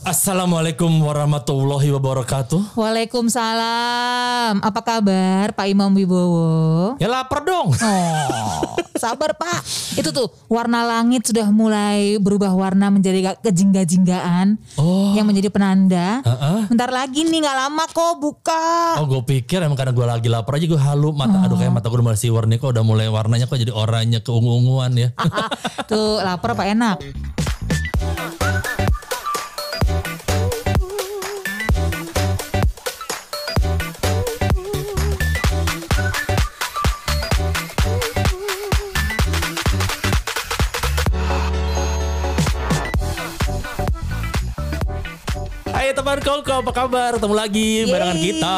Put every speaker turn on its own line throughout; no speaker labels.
Assalamualaikum warahmatullahi wabarakatuh.
Waalaikumsalam. Apa kabar Pak Imam Wibowo?
Ya lapar dong.
Oh, sabar Pak. Itu tuh warna langit sudah mulai berubah warna menjadi ga- kejingga-jinggaan
Oh.
yang menjadi penanda.
Heeh.
Bentar lagi nih nggak lama kok buka.
Oh gue pikir emang karena gue lagi lapar aja gue halu mata aduh
Oh.
kayak mata gue udah mulai siwar nih kok udah mulai warnanya kok jadi oranye keungu-unguan ya.
Ah, tuh lapar Pak enak.
Hai teman kongko apa kabar? Ketemu lagi
Yeay.
barengan kita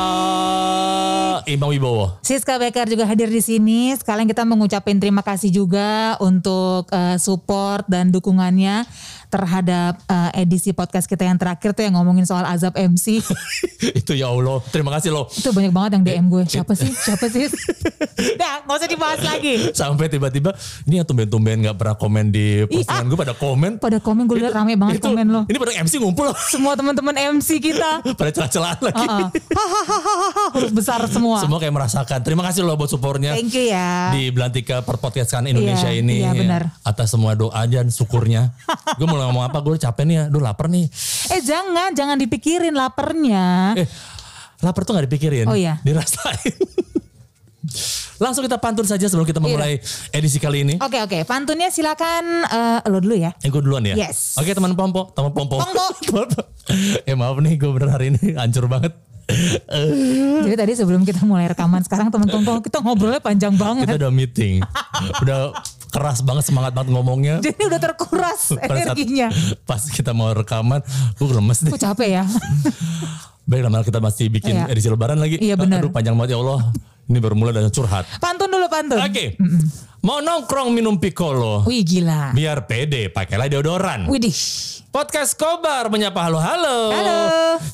Imam Wibowo.
Siska Becker juga hadir di sini. Sekalian kita mengucapkan terima kasih juga untuk eh, support dan dukungannya terhadap eh, edisi podcast kita yang terakhir tuh yang ngomongin soal azab MC.
Itu ya Allah terima kasih loh.
Itu banyak banget yang DM gue. Siapa sih? Siapa sih? Nah, nggak usah dibahas lagi.
Sampai tiba-tiba ini yang tumben-tumben nggak pernah komen di
ah.
postingan gue pada komen.
Pada komen gue liat rame banget
Itu,
komen lo.
Ini pada MC ngumpul loh.
Semua teman-teman MC kita.
pada celah-celahan lagi.
Heeh. Hahaha, huruf besar semua.
Semua kayak merasakan. Terima kasih loh buat supportnya.
Thank you ya.
di Belantika Perpodcastan Indonesia
Iya,
ini
iya,
ya.
benar.
atas semua doa dan syukurnya. gue mulai ngomong apa? Gue capek nih ya. Duh lapar nih.
Eh jangan, jangan dipikirin lapernya.
Eh, lapar tuh nggak dipikirin.
Oh, iya.
Dirasain. Langsung kita pantun saja sebelum kita memulai
Iya.
edisi kali ini.
Oke oke, pantunnya silakan eh, lo dulu ya.
Eh, gue duluan ya.
Yes.
Oke teman pompo, teman pompo.
Pompo.
Teman pompo. eh maaf nih gue bener hari ini hancur banget. Eh,
Jadi tadi sebelum kita mulai rekaman sekarang teman-teman kita ngobrolnya panjang banget.
kita udah meeting, udah keras banget semangat banget ngomongnya.
Jadi udah terkuras
Pada saat-
energinya.
pas kita mau rekaman, gue lemes deh.
Aku capek ya.
Baik lama kita masih bikin
Iya.
edisi lebaran lagi.
Iya, benar.
Aduh panjang banget ya Allah. Ini baru mulai dan curhat.
Pantun dulu pantun.
Oke. Mau nongkrong minum piccolo.
Iya. Wih gila.
Biar pede, pakailah deodoran.
Widih.
Podcast Kobar menyapa halo-halo.
Halo.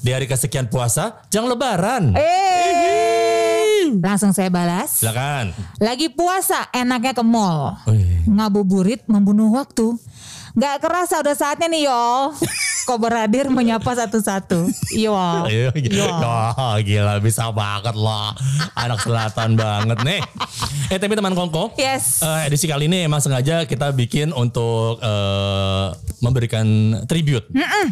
Di hari kesekian puasa, jangan lebaran.
Eh. Langsung saya balas.
Silakan.
Lagi puasa enaknya ke mall.
Wih.
Ngabuburit membunuh waktu. Gak kerasa udah saatnya nih yo. Kobar hadir menyapa satu-satu. Yo.
Ayo,
Iya.
Iya, Wah, gila bisa banget lah. Anak selatan banget nih. Eh tapi teman kongko.
Yes.
eh, edisi kali ini emang sengaja kita bikin untuk eh, memberikan tribute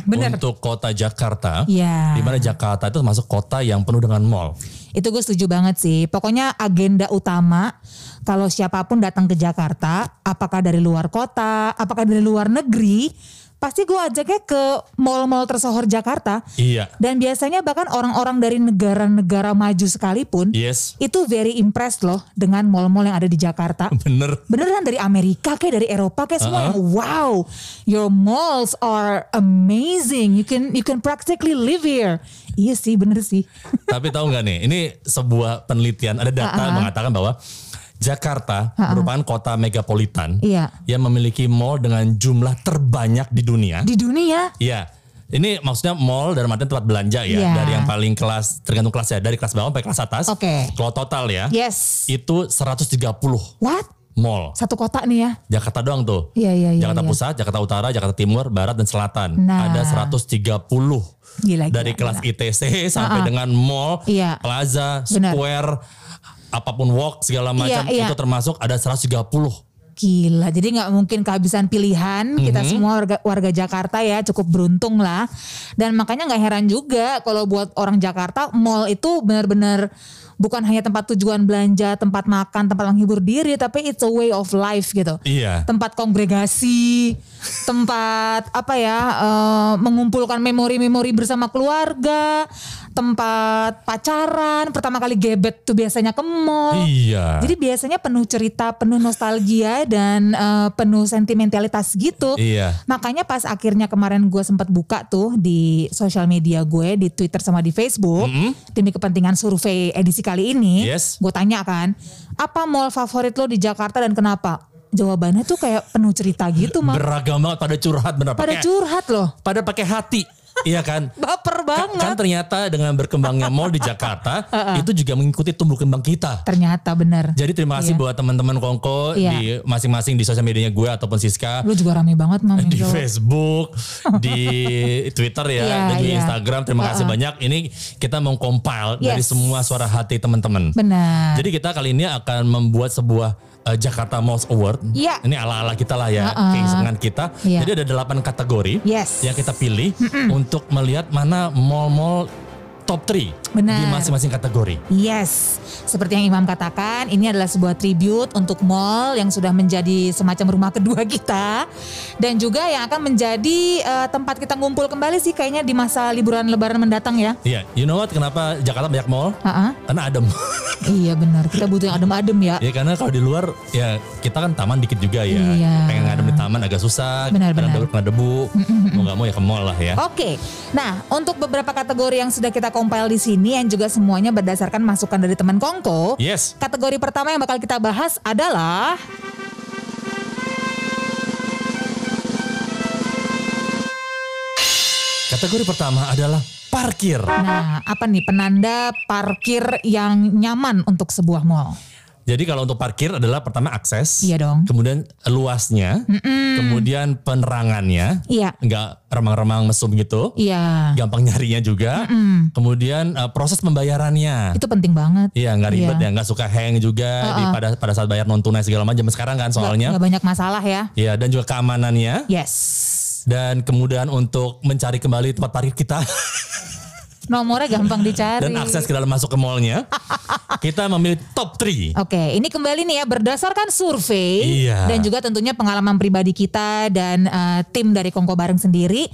bener.
untuk kota Jakarta.
Iya.
Di mana Jakarta itu masuk kota yang penuh dengan mall.
Itu gue setuju banget sih. Pokoknya agenda utama kalau siapapun datang ke Jakarta, apakah dari luar kota, apakah dari luar negeri, pasti gue ajaknya ke mall-mall tersohor Jakarta.
Iya.
Dan biasanya bahkan orang-orang dari negara-negara maju sekalipun,
Yes.
itu very impressed loh dengan mall-mall yang ada di Jakarta.
Bener.
Beneran dari Amerika kayak dari Eropa kayak semua yang,
Uh-huh.
wow, your malls are amazing. You can you can practically live here. Iya sih, bener sih.
Tapi tahu nggak nih, ini sebuah penelitian ada data
Uh-huh.
mengatakan bahwa Jakarta merupakan kota megapolitan
Iya.
yang memiliki mall dengan jumlah terbanyak di dunia.
Di dunia
Iya. Ini maksudnya mall dalam artian tempat belanja ya.
Iya.
Dari yang paling kelas, tergantung kelas ya. Dari kelas bawah sampai kelas atas.
Oke. Iya.
Kalau total ya.
Yes.
Itu 130
What?
mall.
Satu kota nih ya.
Jakarta doang tuh.
Iya, iya, iya,
Jakarta
iya.
Pusat, Jakarta Utara, Jakarta Timur, Barat, dan Selatan.
Nah.
Ada 130.
Gila,
Dari
gila,
kelas
gila.
ITC sampai dengan mall,
Iya.
plaza,
Benar.
square, apapun walk segala macam.
iya.
Itu termasuk ada 130.
Gila, jadi nggak mungkin kehabisan pilihan. Kita semua warga, warga Jakarta ya cukup beruntung lah. Dan makanya nggak heran juga kalau buat orang Jakarta, mall itu benar-benar bukan hanya tempat tujuan belanja, tempat makan, tempat menghibur diri, tapi it's a way of life gitu.
Iya.
Tempat kongregasi, tempat apa ya, eh, mengumpulkan memori-memori bersama keluarga, tempat pacaran, pertama kali gebet tuh biasanya ke mall.
Iya.
Oh. Jadi biasanya penuh cerita, penuh nostalgia dan eh, penuh sentimentalitas gitu.
Iya.
Makanya pas akhirnya kemarin gue sempat buka tuh di sosial media gue di Twitter sama di Facebook demi kepentingan survei edisi kali ini.
Yes.
Gue tanya kan, apa mall favorit lo di Jakarta dan kenapa? Jawabannya tuh kayak penuh cerita gitu, mah.
Beragam banget pada curhat benar.
Pada
Pakai-
curhat loh.
pada pakai hati. Iya kan?
Baper banget.
Kan ternyata dengan berkembangnya mall di Jakarta itu juga mengikuti tumbuh kembang kita.
Ternyata bener.
Jadi terima kasih
Iya.
buat teman-teman Kongko
Iya.
di masing-masing di sosial medianya gue ataupun Siska
Lu juga rame banget mam.
di
Indo.
Facebook, di Twitter ya,
Iya,
dan di
iya.
Instagram. Terima kasih banyak. Ini kita mengkompil dari
Yes.
semua suara hati teman-teman.
Benar.
Jadi kita kali ini akan membuat sebuah eh, Jakarta Mouse Award.
Iya.
Ini ala-ala kita lah ya, keisengan kita.
Iya.
Jadi ada delapan kategori
Yes.
yang kita pilih untuk melihat mana mall-mall top 3 di
Benar.
masing-masing kategori.
Yes, seperti yang Imam katakan, ini adalah sebuah tribute untuk mall yang sudah menjadi semacam rumah kedua kita dan juga yang akan menjadi eh, tempat kita ngumpul kembali sih kayaknya di masa liburan lebaran mendatang ya.
Iya, you know what? Kenapa Jakarta banyak mall?
Ah, ah.
Karena adem.
Iya benar, kita butuh yang adem-adem ya.
ya karena kalau di luar ya kita kan taman dikit juga ya.
Iya.
Pengen ngadem di taman agak susah.
Benar,
karena
benar. Oh.
debu- Karena debu. Mau nggak mau ya ke mall lah ya.
Oke, nah untuk beberapa kategori yang sudah kita compile di sini yang juga semuanya berdasarkan masukan dari teman Kongko.
Yes.
Kategori pertama yang bakal kita bahas adalah
Kategori pertama adalah parkir.
Nah, apa nih penanda parkir yang nyaman untuk sebuah mall?
Jadi kalau untuk parkir adalah pertama akses,
Iya dong.
kemudian luasnya, kemudian penerangannya,
Iya.
nggak remang-remang mesum gitu,
Iya.
gampang nyarinya juga, kemudian eh, proses pembayarannya.
Itu penting banget.
Iya nggak ribet
Iya.
ya, nggak suka hang juga di pada pada saat bayar non tunai segala macam sekarang kan soalnya.
Nggak banyak masalah ya.
Iya dan juga keamanannya
Yes.
dan kemudian untuk mencari kembali tempat parkir kita
Nomornya gampang dicari.
dan akses ke dalam masuk ke mallnya. kita memilih top 3.
Oke, ini kembali nih ya berdasarkan survei
Iya.
dan juga tentunya pengalaman pribadi kita dan eh, tim dari Kongko bareng sendiri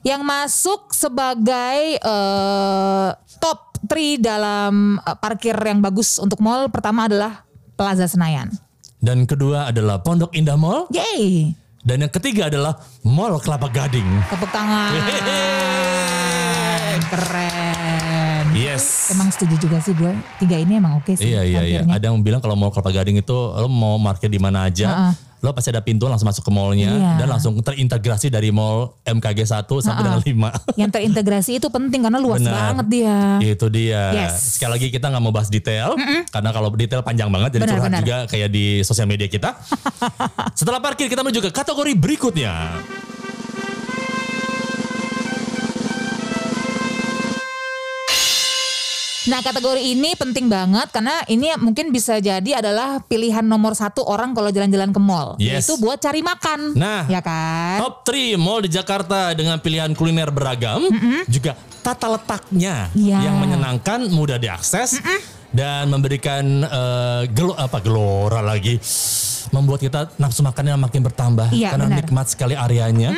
yang masuk sebagai eh, top 3 dalam eh, parkir yang bagus untuk mall pertama adalah Plaza Senayan.
Dan kedua adalah Pondok Indah Mall.
Yeay.
Dan yang ketiga adalah Mall Kelapa Gading.
Tepuk tangan.
Yeay.
Keren.
Yes.
Emang setuju juga sih gue. Tiga ini emang oke sih.
Iya iya iya.
parkirnya.
Ada yang bilang kalau Mall Kelapa Gading itu lo mau parkir di mana aja, lo pasti ada pintu langsung masuk ke mallnya
Iya.
dan langsung terintegrasi dari mall MKG 1 sampai dengan 5.
Yang terintegrasi itu penting karena luas
Benar. Iya.
banget dia.
Itu dia.
Yes.
Sekali lagi kita nggak mau bahas detail karena kalau detail panjang banget jadi
Benar,
curhat
benar.
juga kayak di sosial media kita. Setelah parkir kita menuju ke kategori berikutnya.
Nah kategori ini penting banget karena ini mungkin bisa jadi adalah pilihan nomor satu orang kalau jalan-jalan ke mall.
Yes.
Itu buat cari makan.
Nah.
Ya kan?
Top 3 mall di Jakarta dengan pilihan kuliner beragam, juga tata letaknya
Iya.
yang menyenangkan, mudah diakses dan memberikan eh, gelo apa gelora lagi, membuat kita nafsu makannya makin bertambah
Iya,
karena
benar.
nikmat sekali areanya.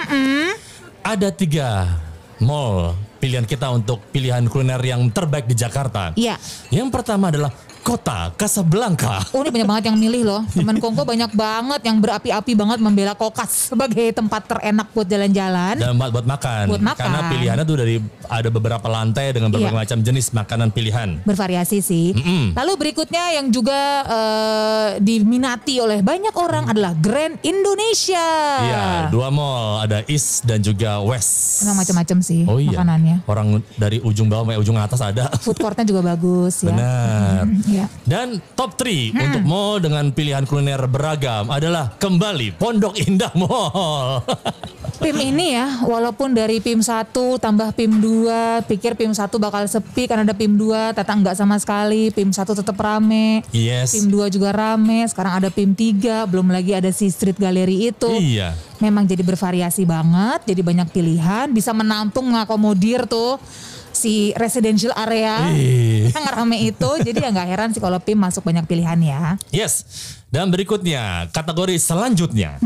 Ada tiga mall pilihan kita untuk pilihan kuliner yang terbaik di Jakarta.
Iya.
Yang pertama adalah Kota Casablanca.
Oh ini banyak banget yang milih loh. Teman Kongko banyak banget yang berapi-api banget membela kokas sebagai tempat terenak buat jalan-jalan.
dan buat buat makan.
Buat makan.
Karena pilihannya tuh dari ada beberapa lantai dengan berbagai
Iya.
macam jenis makanan pilihan.
bervariasi sih. Lalu berikutnya yang juga eh, diminati oleh banyak orang adalah Grand Indonesia.
Mm. Iya, dua mall, ada East dan juga West.
Emang macam-macam sih
Oh iya.
makanannya. Iya.
Orang dari ujung bawah sampai ujung atas ada.
Food courtnya juga bagus ya.
Benar.
Hmm, Iya.
Dan top 3
Hmm.
untuk mall dengan pilihan kuliner beragam adalah kembali Pondok Indah Mall.
PIM ini ya, walaupun dari PIM 1 tambah PIM 2, pikir PIM 1 bakal sepi karena ada PIM 2, tata enggak sama sekali, PIM 1 tetap rame.
yes.
PIM 2 juga rame, sekarang ada PIM 3, belum lagi ada si Street Gallery itu.
Iya.
memang jadi bervariasi banget, jadi banyak pilihan, bisa menampung mengakomodir tuh si residential area
Ih.
yang rame itu. Jadi ya nggak heran sih kalau PIM masuk banyak pilihan ya.
Yes. Dan berikutnya, kategori selanjutnya.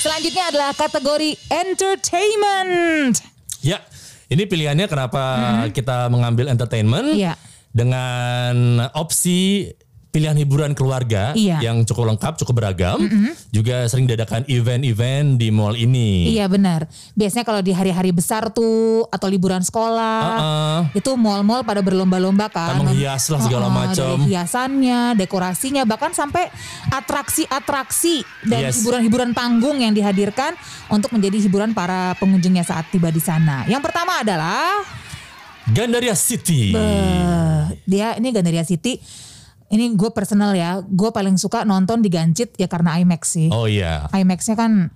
Selanjutnya adalah kategori entertainment.
Ya, ini pilihannya
Mm-hmm.
kenapa kita mengambil entertainment
Iya.
dengan opsi pilihan hiburan keluarga
Iya. Mm-hmm.
yang cukup lengkap, cukup beragam. Juga sering diadakan event-event di mall ini.
Iya benar. Biasanya kalau di hari-hari besar tuh atau liburan
Ah,
sekolah,
Uh-uh.
itu mall-mall pada berlomba-lomba kan.
Kan menghias lah segala
Heeh,
macam.
dari hiasannya, dekorasinya, bahkan sampai atraksi-atraksi dan
Yes.
hiburan-hiburan panggung yang dihadirkan untuk menjadi hiburan para pengunjungnya saat tiba di sana. Yang pertama adalah
Gandaria City.
eh, dia ini Gandaria City. Ini gue personal ya, gue paling suka nonton di Gancit ya karena IMAX sih.
Oh iya.
IMAX-nya kan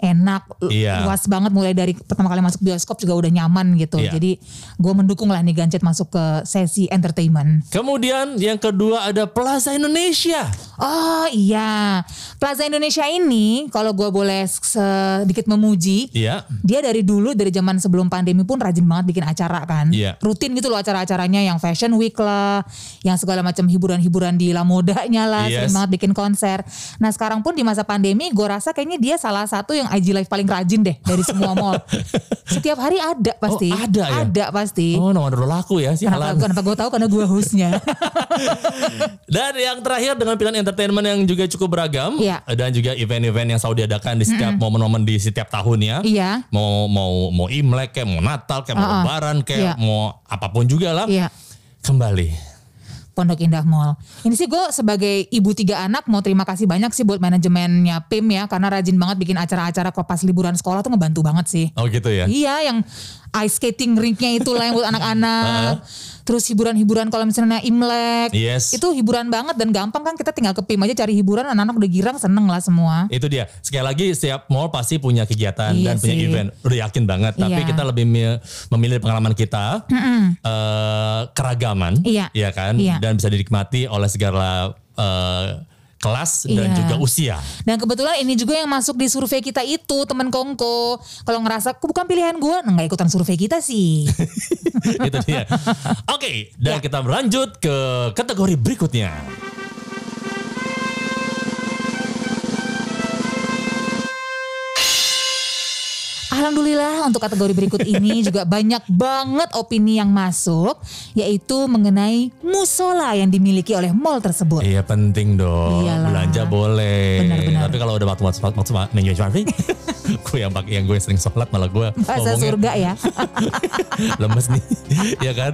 enak, lu-
Iya.
luas banget mulai dari pertama kali masuk bioskop juga udah nyaman gitu.
Iya.
Jadi gue mendukung lah nih Gancet masuk ke sesi entertainment.
Kemudian yang kedua ada Plaza Indonesia.
Oh iya, Plaza Indonesia ini kalau gue boleh sedikit memuji,
Iya.
dia dari dulu dari zaman sebelum pandemi pun rajin banget bikin acara kan.
Iya.
Rutin gitu loh acara-acaranya yang fashion week lah, yang segala macam hiburan-hiburan di Lamodanya lah,
Yes.
sering banget bikin konser. Nah, sekarang pun di masa pandemi gue rasa kayaknya dia salah satu yang IG live paling rajin deh dari semua mall. Setiap hari ada pasti.
ada ya?
Ada pasti.
Oh, nomor dua laku ya
Kenapa,
sialan.
kenapa gue tahu karena gue hostnya.
Dan yang terakhir dengan pilihan entertainment yang juga cukup beragam
Iya.
dan juga event-event yang selalu diadakan di setiap momen-momen di setiap tahunnya.
iya.
Mau mau mau Imlek kayak mau Natal kayak mau
Uh-uh.
Lebaran kayak
Iya.
mau apapun juga lah.
Iya.
Kembali.
Pondok Indah Mall. Ini sih gue sebagai ibu tiga anak mau terima kasih banyak sih buat manajemennya PIM ya karena rajin banget bikin acara-acara kok pas liburan sekolah tuh ngebantu banget sih.
Oh gitu ya.
Iya yang ice skating rinknya itulah yang buat anak-anak. Terus hiburan-hiburan kalau misalnya Imlek.
Yes.
Itu hiburan banget dan gampang kan kita tinggal ke PIM aja cari hiburan anak-anak udah girang seneng lah semua.
Itu dia. Sekali lagi setiap mall pasti punya kegiatan
Iya
dan punya
sih.
event. Udah yakin banget. Tapi
Iya.
kita lebih mi- memilih pengalaman kita eh, keragaman,
Iya.
ya kan?
Iya.
Dan bisa dinikmati oleh segala eh, kelas dan
Iya.
juga usia.
Dan kebetulan ini juga yang masuk di survei kita itu temen Kongko. Kalau ngerasa "Kok bukan pilihan gue, nggak ikutan survei kita sih.
Itu dia. Oke, dan
Iya.
kita berlanjut ke kategori berikutnya.
Alhamdulillah untuk kategori berikut ini juga banyak banget opini yang masuk yaitu mengenai musola yang dimiliki oleh mall tersebut.
Iya penting dong.
Iyalah.
Belanja boleh.
Benar-benar.
Tapi kalau udah waktu waktu waktu waktu waktu gue yang pakai yang gue sering sholat malah gue
Bahasa
ngomongnya
surga ya.
lemes nih, ya kan?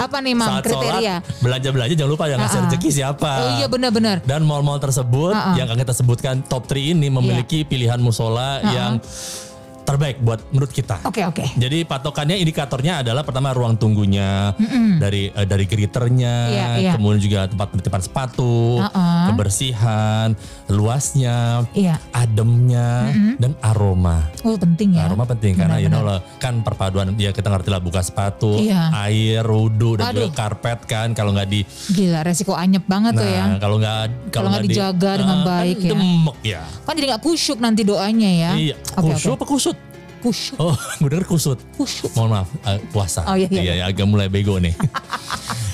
Apa nih Mam
Saat
kriteria?
sholat belanja belanja jangan lupa yang ngasih
Ha-ha.
rezeki siapa.
Oh iya benar-benar.
Dan mall-mall tersebut
Ha-ha. Iya.
yang akan kita sebutkan top 3 ini memiliki pilihan musola yang terbaik buat menurut kita.
Oke oke.
Jadi patokannya indikatornya adalah pertama ruang tunggunya dari eh, dari griternya,
Iya, iya.
kemudian juga tempat penitipan sepatu,
Uh-uh.
kebersihan, luasnya,
Iya.
ademnya dan aroma.
Oh penting ya.
Aroma penting karena you
Benar-benar.
know lah, kan perpaduan ya kita ngerti lah buka sepatu,
Iya.
air, rudu dan juga
Aduh.
karpet kan kalau nggak di
Gila resiko anyep banget tuh ya.
nah kalau nggak
Kalau nggak dijaga
eh,
dengan
kan
baik ya.
demek ya.
Kan jadi nggak kusyuk nanti doanya ya.
Iya,
Oke
kusyuk
oke.
apa kusut?
Kusyuk.
Oh, gue denger kusut.
Kusyuk.
Mohon maaf, eh, puasa.
Oh, iya,
ya,
iya,
agak mulai bego nih.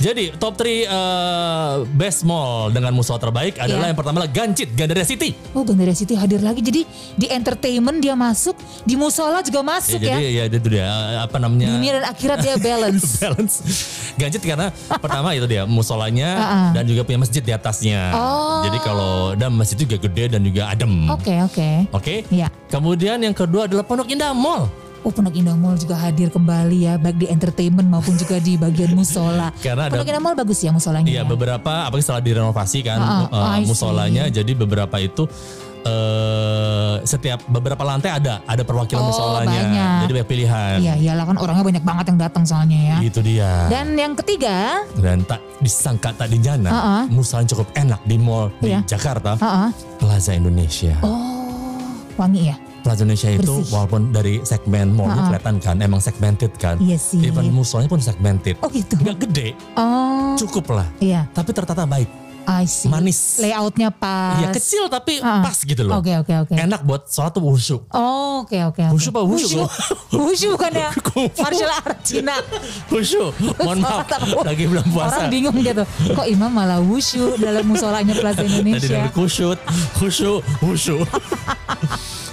Jadi top 3 best mall dengan musola terbaik adalah
Iya.
yang pertama adalah Gancit, Gandaria City.
Oh Gandaria City hadir lagi. Jadi di entertainment dia masuk, di musola juga
Ya,
masuk ya.
jadi ya itu dia eh, apa namanya?
Dunia dan akhirat dia balance.
balance. Gancit karena pertama itu dia musolanya
Ah, ah.
dan juga punya masjid di atasnya.
Oh.
Jadi kalau dan masjid juga gede dan juga adem.
Oke oke.
Oke.
Iya.
Kemudian yang kedua adalah Pondok Indah Mall.
Oh Pondok Indah Mall juga hadir kembali ya baik di entertainment maupun juga di bagian musola.
Karena ada-
Pondok Indah Mall bagus ya musolanya.
Iya
ya?
beberapa apalagi setelah direnovasi kan
Ah,
eh,
I see.
musolanya jadi beberapa itu eh setiap beberapa lantai ada ada perwakilan
Oh,
musolanya.
banyak.
Jadi banyak pilihan.
Iya iyalah kan orangnya banyak banget yang datang soalnya ya.
Gitu dia. Dan,
Dan yang ketiga,
tak disangka tak dinyana
Ah, ah.
musola yang cukup enak di mall di
Iya.
Jakarta
ah, ah.
Plaza Indonesia.
oh wangi ya.
Plaza Indonesia itu
Bersih. Ah,
walaupun dari segmen mallnya kelihatan kan emang segmented kan.
Iya sih.
Even musolanya pun segmented.
Oh gitu.
Nggak gede,
Oh
cukup lah.
iya,
Tapi tertata baik.
I see.
Manis.
Layoutnya pas.
Iya kecil tapi
Ah.
pas gitu loh.
Oke oke oke.
Enak buat sholat tuh wushu.
Oh oke oke. oke.
Wushu apa wushu?
Wushu bukan ya?
Kungfu.
Martial art Cina.
Wushu, mohon maaf. Lagi bulan puasa.
Orang bingung dia tuh. Kok imam malah wushu dalam musolanya Plaza
Tadi
Indonesia?
dari kusyut, wushu, wushu.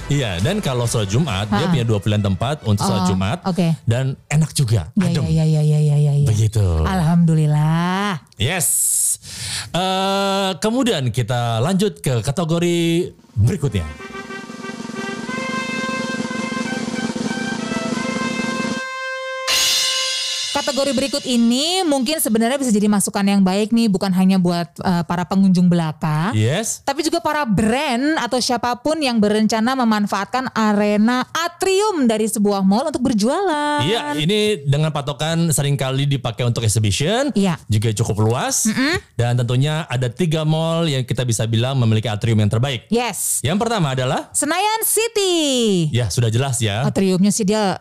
Iya, dan kalau sholat Jumat, dia
Ah.
punya dua pilihan tempat untuk sholat
Oh,
Jumat.
oke.
Dan enak juga,
Ya,
adem.
iya. ya, ya, ya, ya, ya, ya.
Begitu.
Alhamdulillah.
Yes. Eh, kemudian kita lanjut ke kategori berikutnya.
Kategori berikut ini mungkin sebenarnya bisa jadi masukan yang baik nih bukan hanya buat eh, para pengunjung belaka.
Yes.
Tapi juga para brand atau siapapun yang berencana memanfaatkan arena atrium dari sebuah mall untuk berjualan.
Iya, ini dengan patokan seringkali dipakai untuk exhibition,
Iya.
juga cukup luas, dan tentunya ada tiga mall yang kita bisa bilang memiliki atrium yang terbaik.
Yes.
Yang pertama adalah,
Senayan City.
ya sudah jelas ya,
Atriumnya sih dia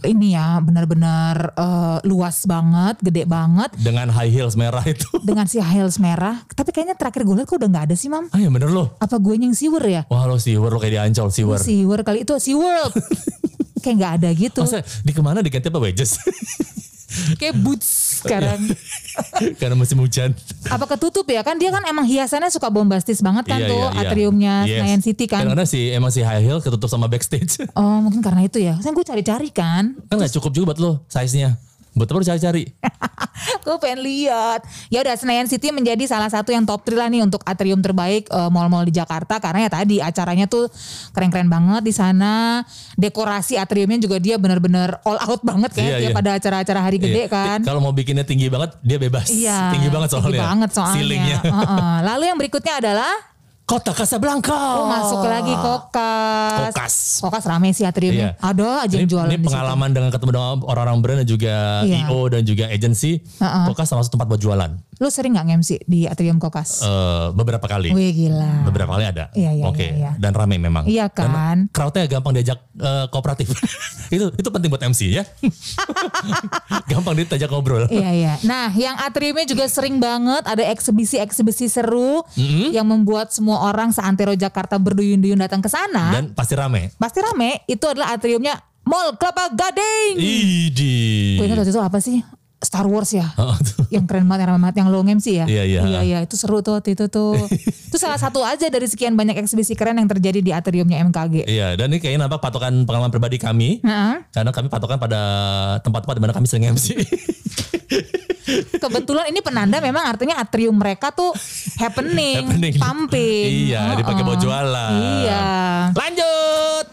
ini ya benar-benar eh, luas banget, gede banget
dengan high heels merah itu.
dengan si heels merah. Tapi kayaknya terakhir gue liat kok udah nggak ada sih, Mam.
Ah ya bener loh.
Apa gue yang siwer ya?
Wah lo siwer, lo kayak di Ancol siwer.
Siwer kali itu SeaWorld. Kayak nggak ada gitu.
Masa di kemana diganti apa wedges?
Kayak boots sekarang.
Karena musim hujan.
Iya. Apa ketutup ya kan? Dia kan emang hiasannya suka bombastis banget kan tuh atriumnya
Iya, Yes.
Senayan City kan.
Kadang-kadang si, emang si high heel ketutup sama backstage.
Oh mungkin karena itu ya. Kan gue cari-cari kan.
kan gak cukup juga buat lo size-nya. Buat apa lo cari-cari?
Gue pengen lihat. Ya udah Senayan City menjadi salah satu yang top 3 lah nih untuk atrium terbaik eh, mall-mall di Jakarta karena ya tadi acaranya tuh keren-keren banget di sana. Dekorasi atriumnya juga dia benar-benar all out banget kayak
Iya,
dia
iya.
pada acara-acara hari gede
Iya.
kan.
Kalau mau bikinnya tinggi banget, dia bebas.
Iya.
Tinggi banget soalnya.
Tinggi banget soalnya.
Ceilingnya.
Heeh. Lalu yang berikutnya adalah
Kota Casablanca.
oh, masuk lagi kokas.
Kokas.
Kokas rame sih atriumnya.
Iya.
Ada aja
Ini,
yang jualan
ini
di situ.
pengalaman dengan ketemu dengan orang-orang brand dan juga
Iya.
IO dan juga agency.
Heeh.
Kokas termasuk tempat buat jualan.
Lu sering nggak ngemsi di atrium kokas?
Eh, beberapa kali.
Wih gila.
Beberapa kali ada.
Iya, iya,
Oke.
iya, iya.
Dan ramai memang.
Iya
Dan
kan?
crowdnya gampang diajak eh, kooperatif. itu itu penting buat MC ya. gampang diajak ngobrol.
Iya iya. Nah, yang atriumnya juga sering banget ada eksebisi-eksebisi seru
Mm-hmm.
yang membuat semua orang seantero Jakarta berduyun-duyun datang ke sana.
Dan pasti rame.
Pasti rame. Itu adalah atriumnya Mall Kelapa
Iya.
Gading.
Idi.
Gue ingat waktu itu apa sih? Star Wars ya.
Oh, tuh.
yang keren banget, yang rame banget, yang lo sih ya.
Iya, iya.
Iya, iya, itu seru tuh waktu itu tuh. itu salah satu aja dari sekian banyak eksebisi keren yang terjadi di atriumnya MKG.
Iya, dan ini kayaknya nampak patokan pengalaman pribadi kami.
Nah,
Karena kami patokan pada tempat-tempat di mana kami sering MC.
kebetulan ini penanda memang artinya atrium mereka tuh happening,
Happening.
Iya, pumping.
Iya, dipakai buat
Heeh.
jualan.
Iya.
Lanjut.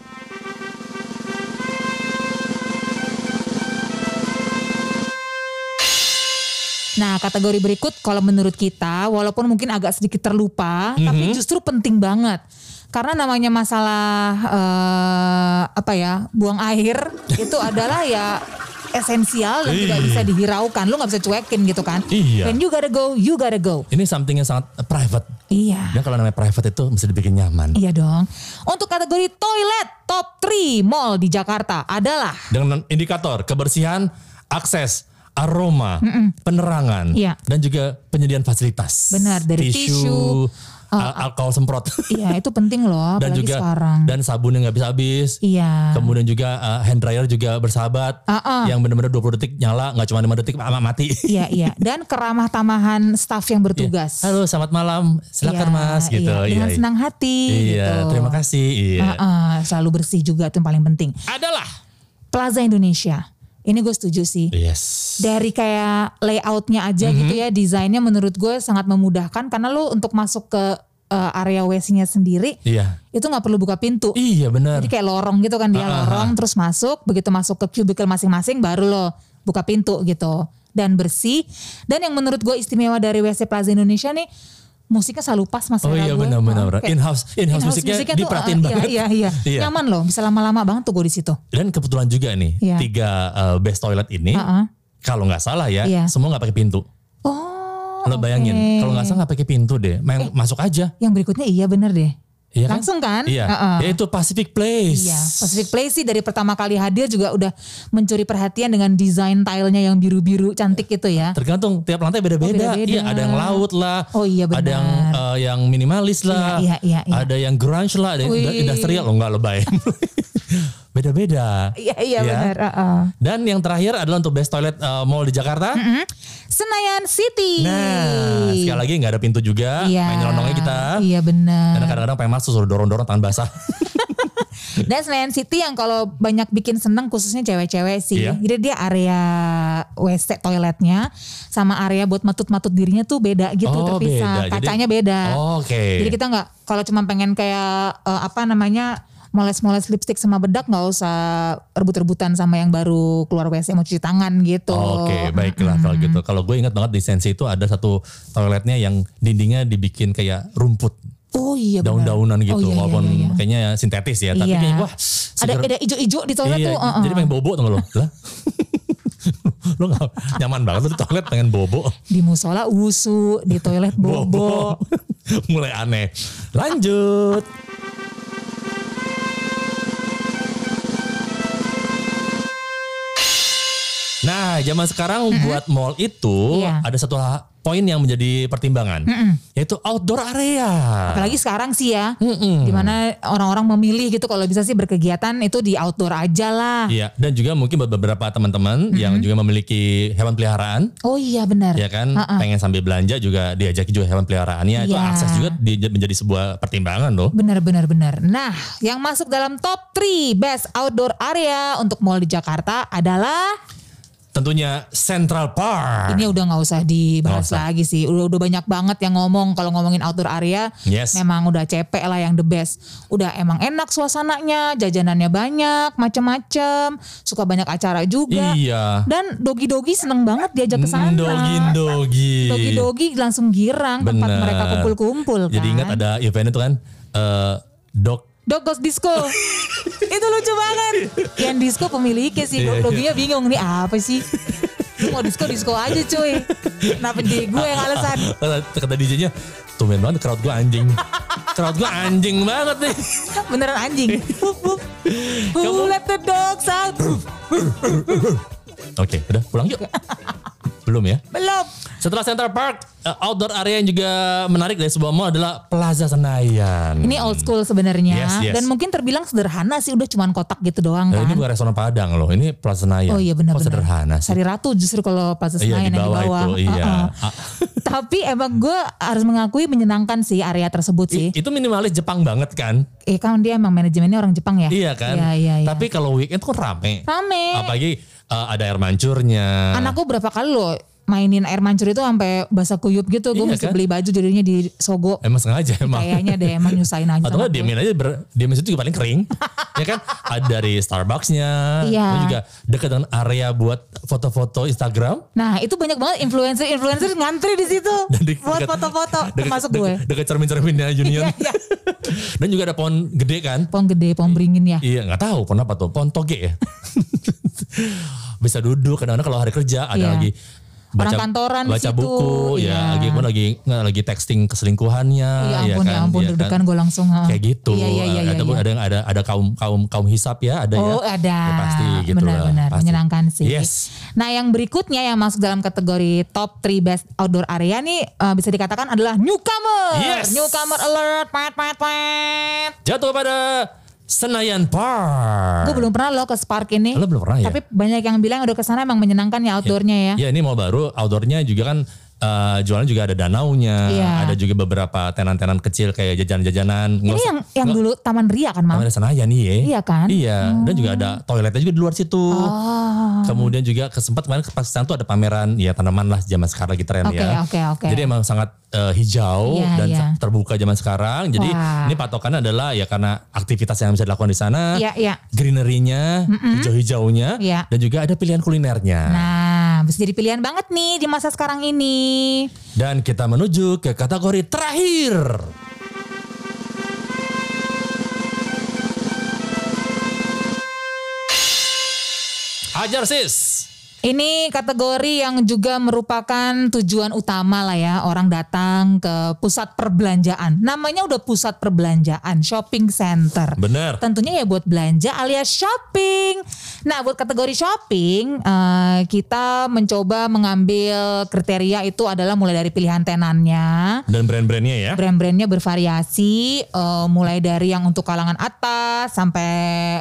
Nah, kategori berikut kalau menurut kita walaupun mungkin agak sedikit terlupa, tapi
Mhm.
justru penting banget. Karena namanya masalah eh, apa ya? buang air itu adalah ya esensial dan tidak
Ih.
bisa dihiraukan. Lu nggak bisa cuekin gitu kan.
Iya.
Dan you gotta go, you gotta go.
Ini something yang sangat eh, private.
Iya.
Dan kalau namanya private itu mesti dibikin nyaman.
Iya dong. Untuk kategori toilet top 3 mall di Jakarta adalah
Dengan indikator kebersihan, akses, aroma, penerangan,
Iya.
dan juga penyediaan fasilitas.
Benar, dari tisu, eh,
al- alkohol semprot,
Iya, itu penting loh
dan
apalagi
juga
sekarang.
dan sabun yang nggak habis-habis.
iya.
Kemudian juga uh, hand dryer juga bersahabat
Ah, ah.
yang benar-benar 20 detik nyala nggak cuma 5 detik ama mati.
Iya iya dan keramah tamahan staf
Iya.
yang bertugas.
Halo, selamat malam. Silakan
Iya,
Mas gitu.
Iya, dengan senang hati.
Iya,
gitu.
terima kasih. Iya.
Heeh, selalu bersih juga itu yang paling penting.
Adalah.
Plaza Indonesia. Ini gue setuju sih.
Yes.
Dari kayak layoutnya aja gitu
Mhm.
ya, desainnya menurut gue sangat memudahkan karena lo untuk masuk ke eh, area WC-nya sendiri
Iya.
itu nggak perlu buka pintu.
Iya benar.
Jadi kayak lorong gitu kan dia
Ah, ah,
lorong terus masuk, begitu masuk ke cubicle masing-masing baru lo buka pintu gitu dan bersih. Dan yang menurut gue istimewa dari WC Plaza Indonesia nih musiknya selalu pas mas
Oh
selera
iya
gue.
benar-benar.
Kayak
In-house in-house
in-house
musiknya,
tuh,
diperhatiin
eh,
banget.
Iya, iya, iya.
Iya.
Nyaman loh, bisa lama-lama banget tuh gue di situ.
Dan kebetulan juga nih
Iya.
tiga uh, best toilet ini
Ah, ah.
kalau nggak salah ya
Iya.
semua nggak pakai pintu.
Oh.
Lo bayangin
oke. Eh.
kalau nggak salah nggak pakai pintu deh, main masuk aja.
Yang berikutnya iya bener deh.
Iya kan?
Langsung kan?
Iya.
Heeh.
Yaitu Pacific Place.
Iya, Pacific Place sih dari pertama kali hadir juga udah mencuri perhatian dengan desain tile-nya yang biru-biru cantik gitu ya.
Tergantung tiap lantai beda-beda.
Oh, beda-beda.
Iya, ada yang laut lah.
Oh, iya, benar.
Ada yang eh, yang minimalis lah.
Iya, iya, iya.
Ada yang grunge lah, ada yang
Wih.
indu- industrial loh enggak lebay. beda-beda.
Iya, iya
Ya.
bener. heeh.
Dan yang terakhir adalah untuk best toilet eh, mall di Jakarta.
Hmm? Senayan City.
Nah, sekali lagi nggak ada pintu juga.
Iya.
Main nyelonongnya kita.
Iya benar.
Karena kadang-kadang pengen masuk suruh dorong-dorong tangan basah.
Dan Senayan City yang kalau banyak bikin seneng khususnya cewek-cewek sih.
Iya.
Jadi dia area WC toiletnya sama area buat matut-matut dirinya tuh beda gitu
Oh,
terpisah.
beda. Jadi- Oh,
Kacanya beda.
Oke.
Nah. Jadi kita nggak kalau cuma pengen kayak eh, apa namanya moles-moles lipstick sama bedak nggak usah rebut-rebutan sama yang baru keluar WC mau cuci tangan gitu.
Oh,
Hmm.
Oke, baiklah kalau gitu. Kalau gue ingat banget di Sensi itu ada satu toiletnya yang dindingnya dibikin kayak rumput,
Oh iya benar.
daun-daunan gitu,
Oh, iya, iya,
walaupun
iya, iya.
kayaknya ya sintetis ya, tapi
Iya.
kayaknya wah
ada
seger-
ada ijo-ijo di toilet
iya,
tuh. uh-uh.
jadi pengen bobo tuh lo. Lah. lo gak nyaman banget lo di toilet pengen bobo.
Di musola wusu, di toilet bobo.
Mulai aneh. Lanjut. Nah, zaman sekarang buat mall itu
Iya.
ada satu ha- poin yang menjadi pertimbangan, yaitu outdoor area.
Apalagi sekarang sih ya, dimana orang-orang memilih gitu kalau bisa sih berkegiatan itu di outdoor aja lah.
Iya, dan juga mungkin buat beberapa teman-teman yang juga memiliki hewan peliharaan,
Oh iya benar.
ya kan, pengen sambil belanja juga diajaki juga hewan peliharaannya, itu
Iya.
akses juga di- menjadi sebuah pertimbangan loh.
Benar, benar, benar. Nah, yang masuk dalam top 3 best outdoor area untuk mall di Jakarta adalah
Tentunya Central Park.
ini udah nggak usah dibahas
Ah. Nggak usah.
lagi sih. Udah udah banyak banget yang ngomong kalau ngomongin outdoor area,
Yes.
memang udah cepek lah yang the best. Udah emang enak suasananya, jajanannya banyak, macem-macem, suka banyak acara juga.
Iya. Mm,
Dan dogi-dogi seneng banget diajak ke sana.
Dogi dogi.
Dogi-dogi langsung girang
Iya.
tempat
Bener.
mereka kumpul-kumpul kan.
Jadi ingat ada event itu kan eh dog
Dog Goes Disco. itu lucu banget. Yang disco pemiliknya sih,
Iya, iya.
doginya bingung nih apa sih? Lu mau disco disco aja cuy. Kenapa jadi gue yang alasan?
kata, ah, kata DJ-nya tumben banget crowd gua anjing. crowd gua anjing banget nih.
Beneran anjing. Wup, wup. Who let the dogs out?
Oke, udah pulang yuk. Belum ya.
Belum.
Setelah Central Park, eh, outdoor area yang juga menarik dari sebuah mall adalah Plaza Senayan.
Ini old school sebenarnya
Yes, yes.
dan mungkin terbilang sederhana sih udah cuman kotak gitu doang
Nah,
kan.
ini bukan restoran Padang loh, ini Plaza Senayan.
Oh iya
Kok
benar-benar.
sederhana sih.
Sari Ratu justru kalau Plaza
Iya,
Senayan
di bawah
yang di bawah.
itu, iya.
Uh-uh. Tapi emang gue harus mengakui menyenangkan sih area tersebut sih.
I- itu minimalis Jepang banget kan?
Eh kan dia emang manajemennya orang Jepang ya.
Iya kan?
Iya iya. iya.
Tapi kalau weekend tuh rame.
Rame.
Apalagi eh, ada air mancurnya.
Anakku berapa kali loh mainin air mancur itu sampai basah kuyup gitu. Gue
Iya
mesti
kan?
beli baju jadinya di Sogo.
Emang sengaja emang.
Kayaknya deh emang nyusahin aja.
Atau enggak
sama gue.
diemin aja, ber, diemin situ juga paling kering. ya kan? Ada dari Starbucksnya.
Iya.
Terus juga dekat dengan area buat foto-foto Instagram.
Nah itu banyak banget influencer-influencer ngantri di situ
Dan di-
buat
dekat-
foto-foto
dekat-
termasuk
dekat-
gue.
Dekat cermin-cerminnya Union.
Iya, iya.
Dan juga ada pohon gede kan?
Pohon gede, pohon beringin ya.
Iya nggak tahu pohon apa tuh. Pohon toge ya. Bisa duduk kadang-kadang kalau hari kerja ada
Iya.
lagi
Orang kantoran di
baca
situ,
buku ya
iya.
lagi pun lagi nggak, lagi texting keselingkuhannya
Ya ampun, ya ampun
iya
deg-degan gue langsung. ha.
kayak gitu.
Iya, iya, iya.
ada
iya, iya.
ada yang ada ada kaum kaum kaum hisap ya ada ya.
Oh ada,
Ya, pasti gitu lah,
benar-benar
pasti.
menyenangkan sih.
Yes.
Nah yang berikutnya yang masuk dalam kategori top 3 best outdoor area nih eh, bisa dikatakan adalah newcomer.
Yes.
Newcomer alert, pat pat pat.
Jatuh kepada Senayan Park.
Gue belum pernah loh ke Spark ini.
Lo belum pernah ya?
Tapi banyak yang bilang udah kesana emang menyenangkan ya outdoornya ya.
Ya ini mau baru outdoornya juga kan eh, jualan juga ada danaunya,
Iya.
ada juga beberapa tenan-tenan kecil kayak jajanan-jajanan.
Ini yang yang dulu Taman Ria kan Mam?
ada Senayan iya.
Iya kan? Oh.
Iya, dan juga ada toiletnya juga di luar situ. Kemudian juga kesempat kemarin ke Pakistan tuh ada pameran ya tanaman lah zaman sekarang lagi tren
Oke,
ya.
oke, oke.
Jadi emang sangat eh, hijau
Iya,
dan
iya.
terbuka zaman sekarang. Jadi
Wah.
ini patokannya adalah ya karena aktivitas yang bisa dilakukan di sana,
Iya, iya.
greenery-nya, hijau-hijaunya
Iya.
dan juga ada pilihan kulinernya.
Nah, bisa jadi pilihan banget nih di masa sekarang ini.
Dan kita menuju ke kategori terakhir. Ajar sis.
Ini kategori yang juga merupakan tujuan utama lah ya orang datang ke pusat perbelanjaan. Namanya udah pusat perbelanjaan, shopping center.
Bener.
Tentunya ya buat belanja alias shopping. Nah, buat kategori shopping, eh, kita mencoba mengambil kriteria itu adalah mulai dari pilihan tenannya,
Dan brand-brandnya ya.
brand-brandnya bervariasi eh, mulai dari yang untuk kalangan atas sampai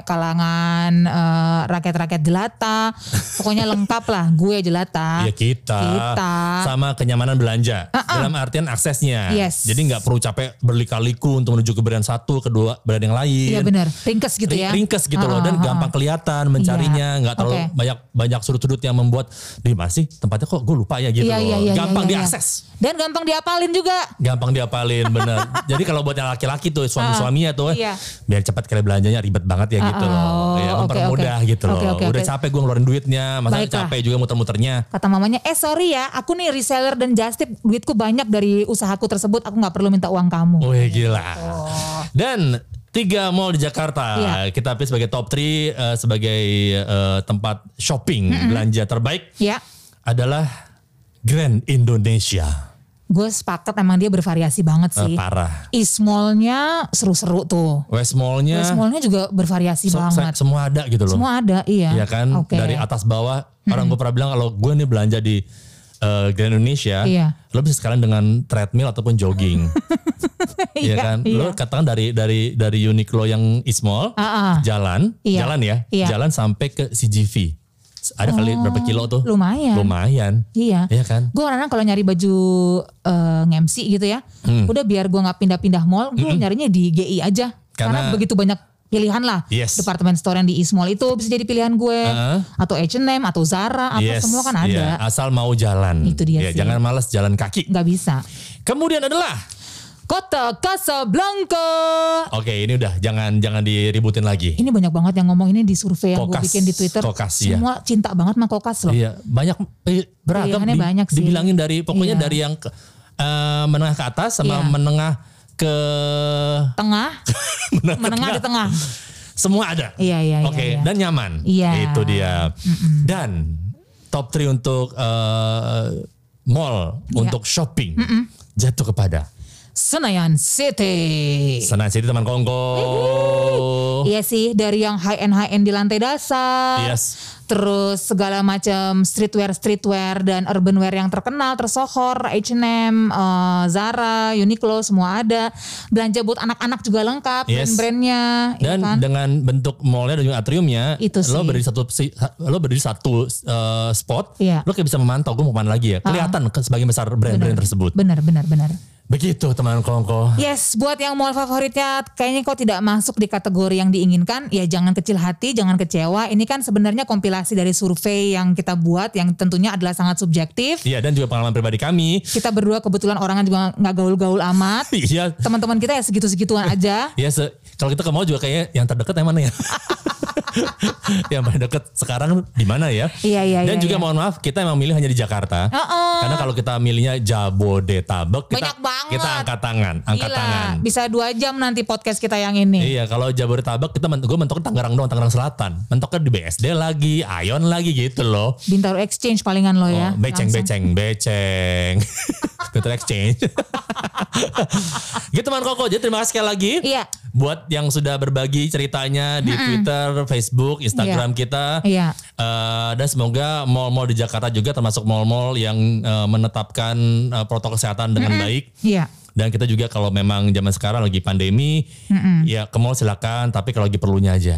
kalangan eh, rakyat-rakyat jelata pokoknya lengkap lengkap lah gue jelata.
Iya kita.
Kita.
Sama kenyamanan belanja.
Uh-uh.
Dalam artian aksesnya.
Yes.
Jadi nggak perlu capek berlika-liku untuk menuju ke brand satu, kedua brand yang lain.
Iya benar. Ringkes gitu
Ri-
ya.
Ringkes gitu loh dan
Ah, ah, ah.
gampang kelihatan mencarinya,
Iya.
nggak terlalu
Oke.
banyak banyak sudut-sudut yang membuat di masih tempatnya kok gue lupa ya gitu
Iya,
loh.
iya, iya,
gampang
iya, iya.
diakses.
Dan gampang diapalin juga.
Gampang diapalin bener. Jadi kalau buat yang laki-laki tuh suami-suaminya tuh eh,
Iya.
biar cepat kali belanjanya ribet banget ya gitu
Ah,
loh.
oh,
Ya
oke,
mempermudah
oke.
gitu loh.
Oke, oke,
Udah
oke.
capek gue ngeluarin duitnya, masa
Baiklah.
capek juga muter-muternya.
Kata mamanya, eh sorry ya, aku nih reseller dan justip duitku banyak dari usahaku tersebut, aku nggak perlu minta uang kamu.
Wih gila. Dan tiga mall di Jakarta
Iya.
kita pilih sebagai top 3 sebagai eh, tempat shopping belanja terbaik
Ya,
adalah Grand Indonesia.
gue sepakat emang dia bervariasi banget
Eh,
sih.
parah.
East Mall-nya seru-seru tuh.
West Mall-nya
West Mall-nya juga bervariasi
se- se-
banget.
semua ada gitu loh.
Semua ada, iya.
Iya kan?
Oke.
Dari atas bawah. Orang gue pernah bilang kalau gue nih belanja di eh, Grand Indonesia,
Iya.
lo bisa sekalian dengan treadmill ataupun jogging. Iya kan?
Iya.
Lo katakan dari dari dari Uniqlo yang Ismall
Ah, ah.
jalan,
Iya.
jalan ya,
Iya. Oh,
jalan sampai ke CGV. Ada kali berapa kilo tuh?
lumayan.
Lumayan.
Iya.
Iya kan?
Gue kadang kalau nyari baju eh, ngemsi gitu ya,
Hmm.
udah biar gue nggak pindah-pindah mall, gue nyarinya di GI aja. Karena,
Karena-
begitu banyak pilihan lah.
Yes.
Departemen store yang di East Mall itu bisa jadi pilihan gue.
Heeh.
Atau H&M, atau Zara, apa
Yes,
semua kan ada.
iya. Asal mau jalan.
Itu dia
Iya,
sih.
Jangan malas jalan kaki.
Nggak bisa.
Kemudian adalah,
Kota Casablanca.
oke ini udah jangan jangan diributin lagi.
Ini banyak banget yang ngomong ini di survei yang gue
Kokas,
bikin di Twitter.
kokas, iya.
Semua cinta banget sama kokas loh.
Iya banyak eh, beragam.
Pilihannya banyak sih.
Dibilangin dari pokoknya
Iya.
dari yang ke- eh, menengah ke atas sama
Iya.
menengah ke
Tengah, menengah di tengah.
semua ada.
Iya, iya, iya,
Oke,
iya.
dan nyaman.
Iya.
Itu dia. Dan top 3 untuk eh, mall
Iya.
untuk shopping jatuh kepada
Senayan City.
Senan City Taman Kongko.
Iya sih, dari yang high end high end di lantai dasar.
Yes.
Terus segala macam streetwear streetwear dan urbanwear yang terkenal, tersohor, H&M, eh, Zara, Uniqlo semua ada. Belanja buat anak-anak juga lengkap
Yes.
brand-brandnya, iya
Dan
kan?
dengan bentuk mallnya dan juga atriumnya,
Itu
lo
sih.
berdiri satu si- lo berdiri satu eh, spot,
Iya. Ah.
lo kayak bisa memantau gue mau kemana lagi ya. Kelihatan ke- sebagian besar brand-brand tersebut.
Benar, benar, benar.
Begitu teman kongko.
Yes, buat yang mall favoritnya kayaknya kau tidak masuk di kategori yang diinginkan, ya jangan kecil hati, jangan kecewa. Ini kan sebenarnya kompilasi dari survei yang kita buat yang tentunya adalah sangat subjektif.
Iya dan juga pengalaman pribadi kami.
Kita berdua kebetulan orangnya juga nggak gaul-gaul amat.
Iya.
Teman-teman kita ya segitu-segituan aja.
Ya se- kalau kita ke mall juga kayaknya yang terdekat yang mana ya? yang paling dekat sekarang di mana ya?
Iya, iya,
Dan
iya,
juga
iya.
mohon maaf kita emang milih hanya di Jakarta.
Heeh.
Karena kalau kita milihnya Jabodetabek kita
Banyak banget.
kita angkat tangan, angkat
Gila,
tangan.
bisa dua jam nanti podcast kita yang ini.
Iya, kalau Jabodetabek kita men- gue mentoknya Tangerang doang, Tangerang Selatan. Mentoknya di BSD lagi, Ayon lagi gitu loh.
Bintaro Exchange palingan lo
Oh,
ya.
beceng,
langsung.
beceng, beceng. Twitter exchange. gitu teman Koko. Jadi terima kasih sekali lagi.
Iya.
Buat yang sudah berbagi ceritanya di Twitter, Facebook, Instagram kita.
Iya.
Eh, dan semoga mall-mall di Jakarta juga termasuk mall-mall yang eh, menetapkan eh, protokol kesehatan dengan baik.
Iya.
Dan kita juga kalau memang zaman sekarang lagi pandemi, ya ke mall silakan. Tapi kalau lagi perlunya aja.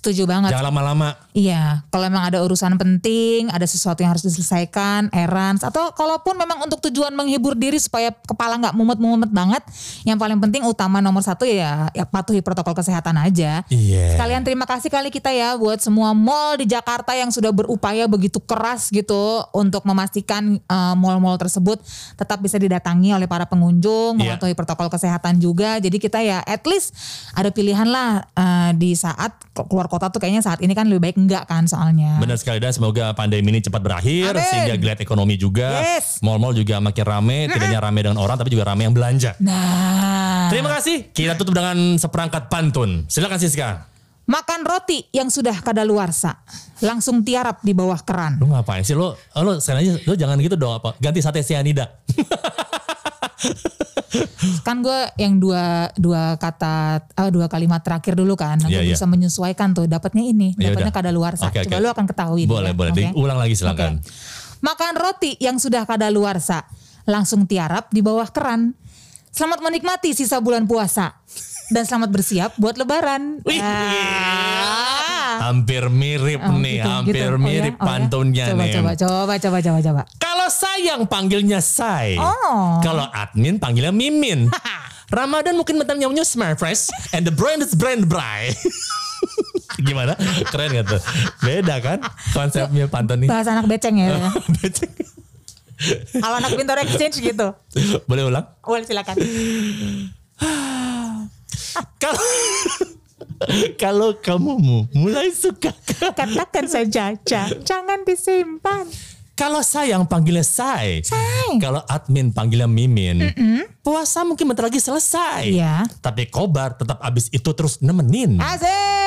Setuju banget.
Jangan lama-lama.
Iya, kalau memang ada urusan penting, ada sesuatu yang harus diselesaikan, errands, atau kalaupun memang untuk tujuan menghibur diri supaya kepala nggak mumet-mumet banget, yang paling penting utama nomor satu ya, ya patuhi protokol kesehatan aja.
Iya.
Sekalian terima kasih kali kita ya buat semua mall di Jakarta yang sudah berupaya begitu keras gitu untuk memastikan eh, mall-mall tersebut tetap bisa didatangi oleh para pengunjung,
Iya.
mematuhi protokol kesehatan juga. Jadi kita ya at least ada pilihan lah eh, di saat keluar kota tuh kayaknya saat ini kan lebih baik enggak kan soalnya.
Benar sekali dan semoga pandemi ini cepat berakhir
Amin.
sehingga geliat ekonomi juga.
Yes.
Mall-mall juga makin rame, tidak hanya rame dengan orang tapi juga rame yang belanja.
Nah,
Terima kasih. Kita tutup dengan seperangkat pantun. Silakan Siska.
makan roti yang sudah kadaluarsa langsung tiarap di bawah keran.
Lu ngapain sih lu? Lu sekarang aja lu jangan gitu dong apa? Ganti sate sianida.
kan gue yang dua dua kata eh, dua kalimat terakhir dulu kan Nah,
Iya, iya.
gue bisa menyesuaikan tuh dapatnya ini
Ya
dapatnya
udah.
kadaluarsa
Oke,
coba
oke.
lu akan ketahui deh
boleh,
ya.
boleh.
Oke.
Diulang lagi silakan.
Oke. makan roti yang sudah kadaluarsa langsung tiarap di bawah keran selamat menikmati Ya. sisa bulan puasa dan selamat bersiap buat lebaran
Wih.
Ah.
Hampir mirip
Oh,
nih,
gitu,
hampir
gitu. Oh,
mirip
ya? Oh, ya?
pantunnya
coba,
nih.
Coba coba coba coba coba.
Kalau sayang panggilnya say.
Oh.
Kalau admin panggilnya mimin. Ramadan mungkin bentar nyamuknya smart fresh and the brand is brand bry. Gimana? Keren gak tuh? Beda kan konsepnya pantun nih.
Bahas anak beceng ya.
Becek.
Kalau anak pintar exchange gitu.
Boleh ulang?
Boleh silakan.
Kalau kalau kamu mu- mulai suka
Katakan saja, Ca. jangan disimpan.
kalau sayang panggilnya say.
Say.
Kalau admin panggilnya mimin. Puasa mungkin bentar lagi selesai.
Iya.
Tapi kobar tetap abis itu terus nemenin.
Asik.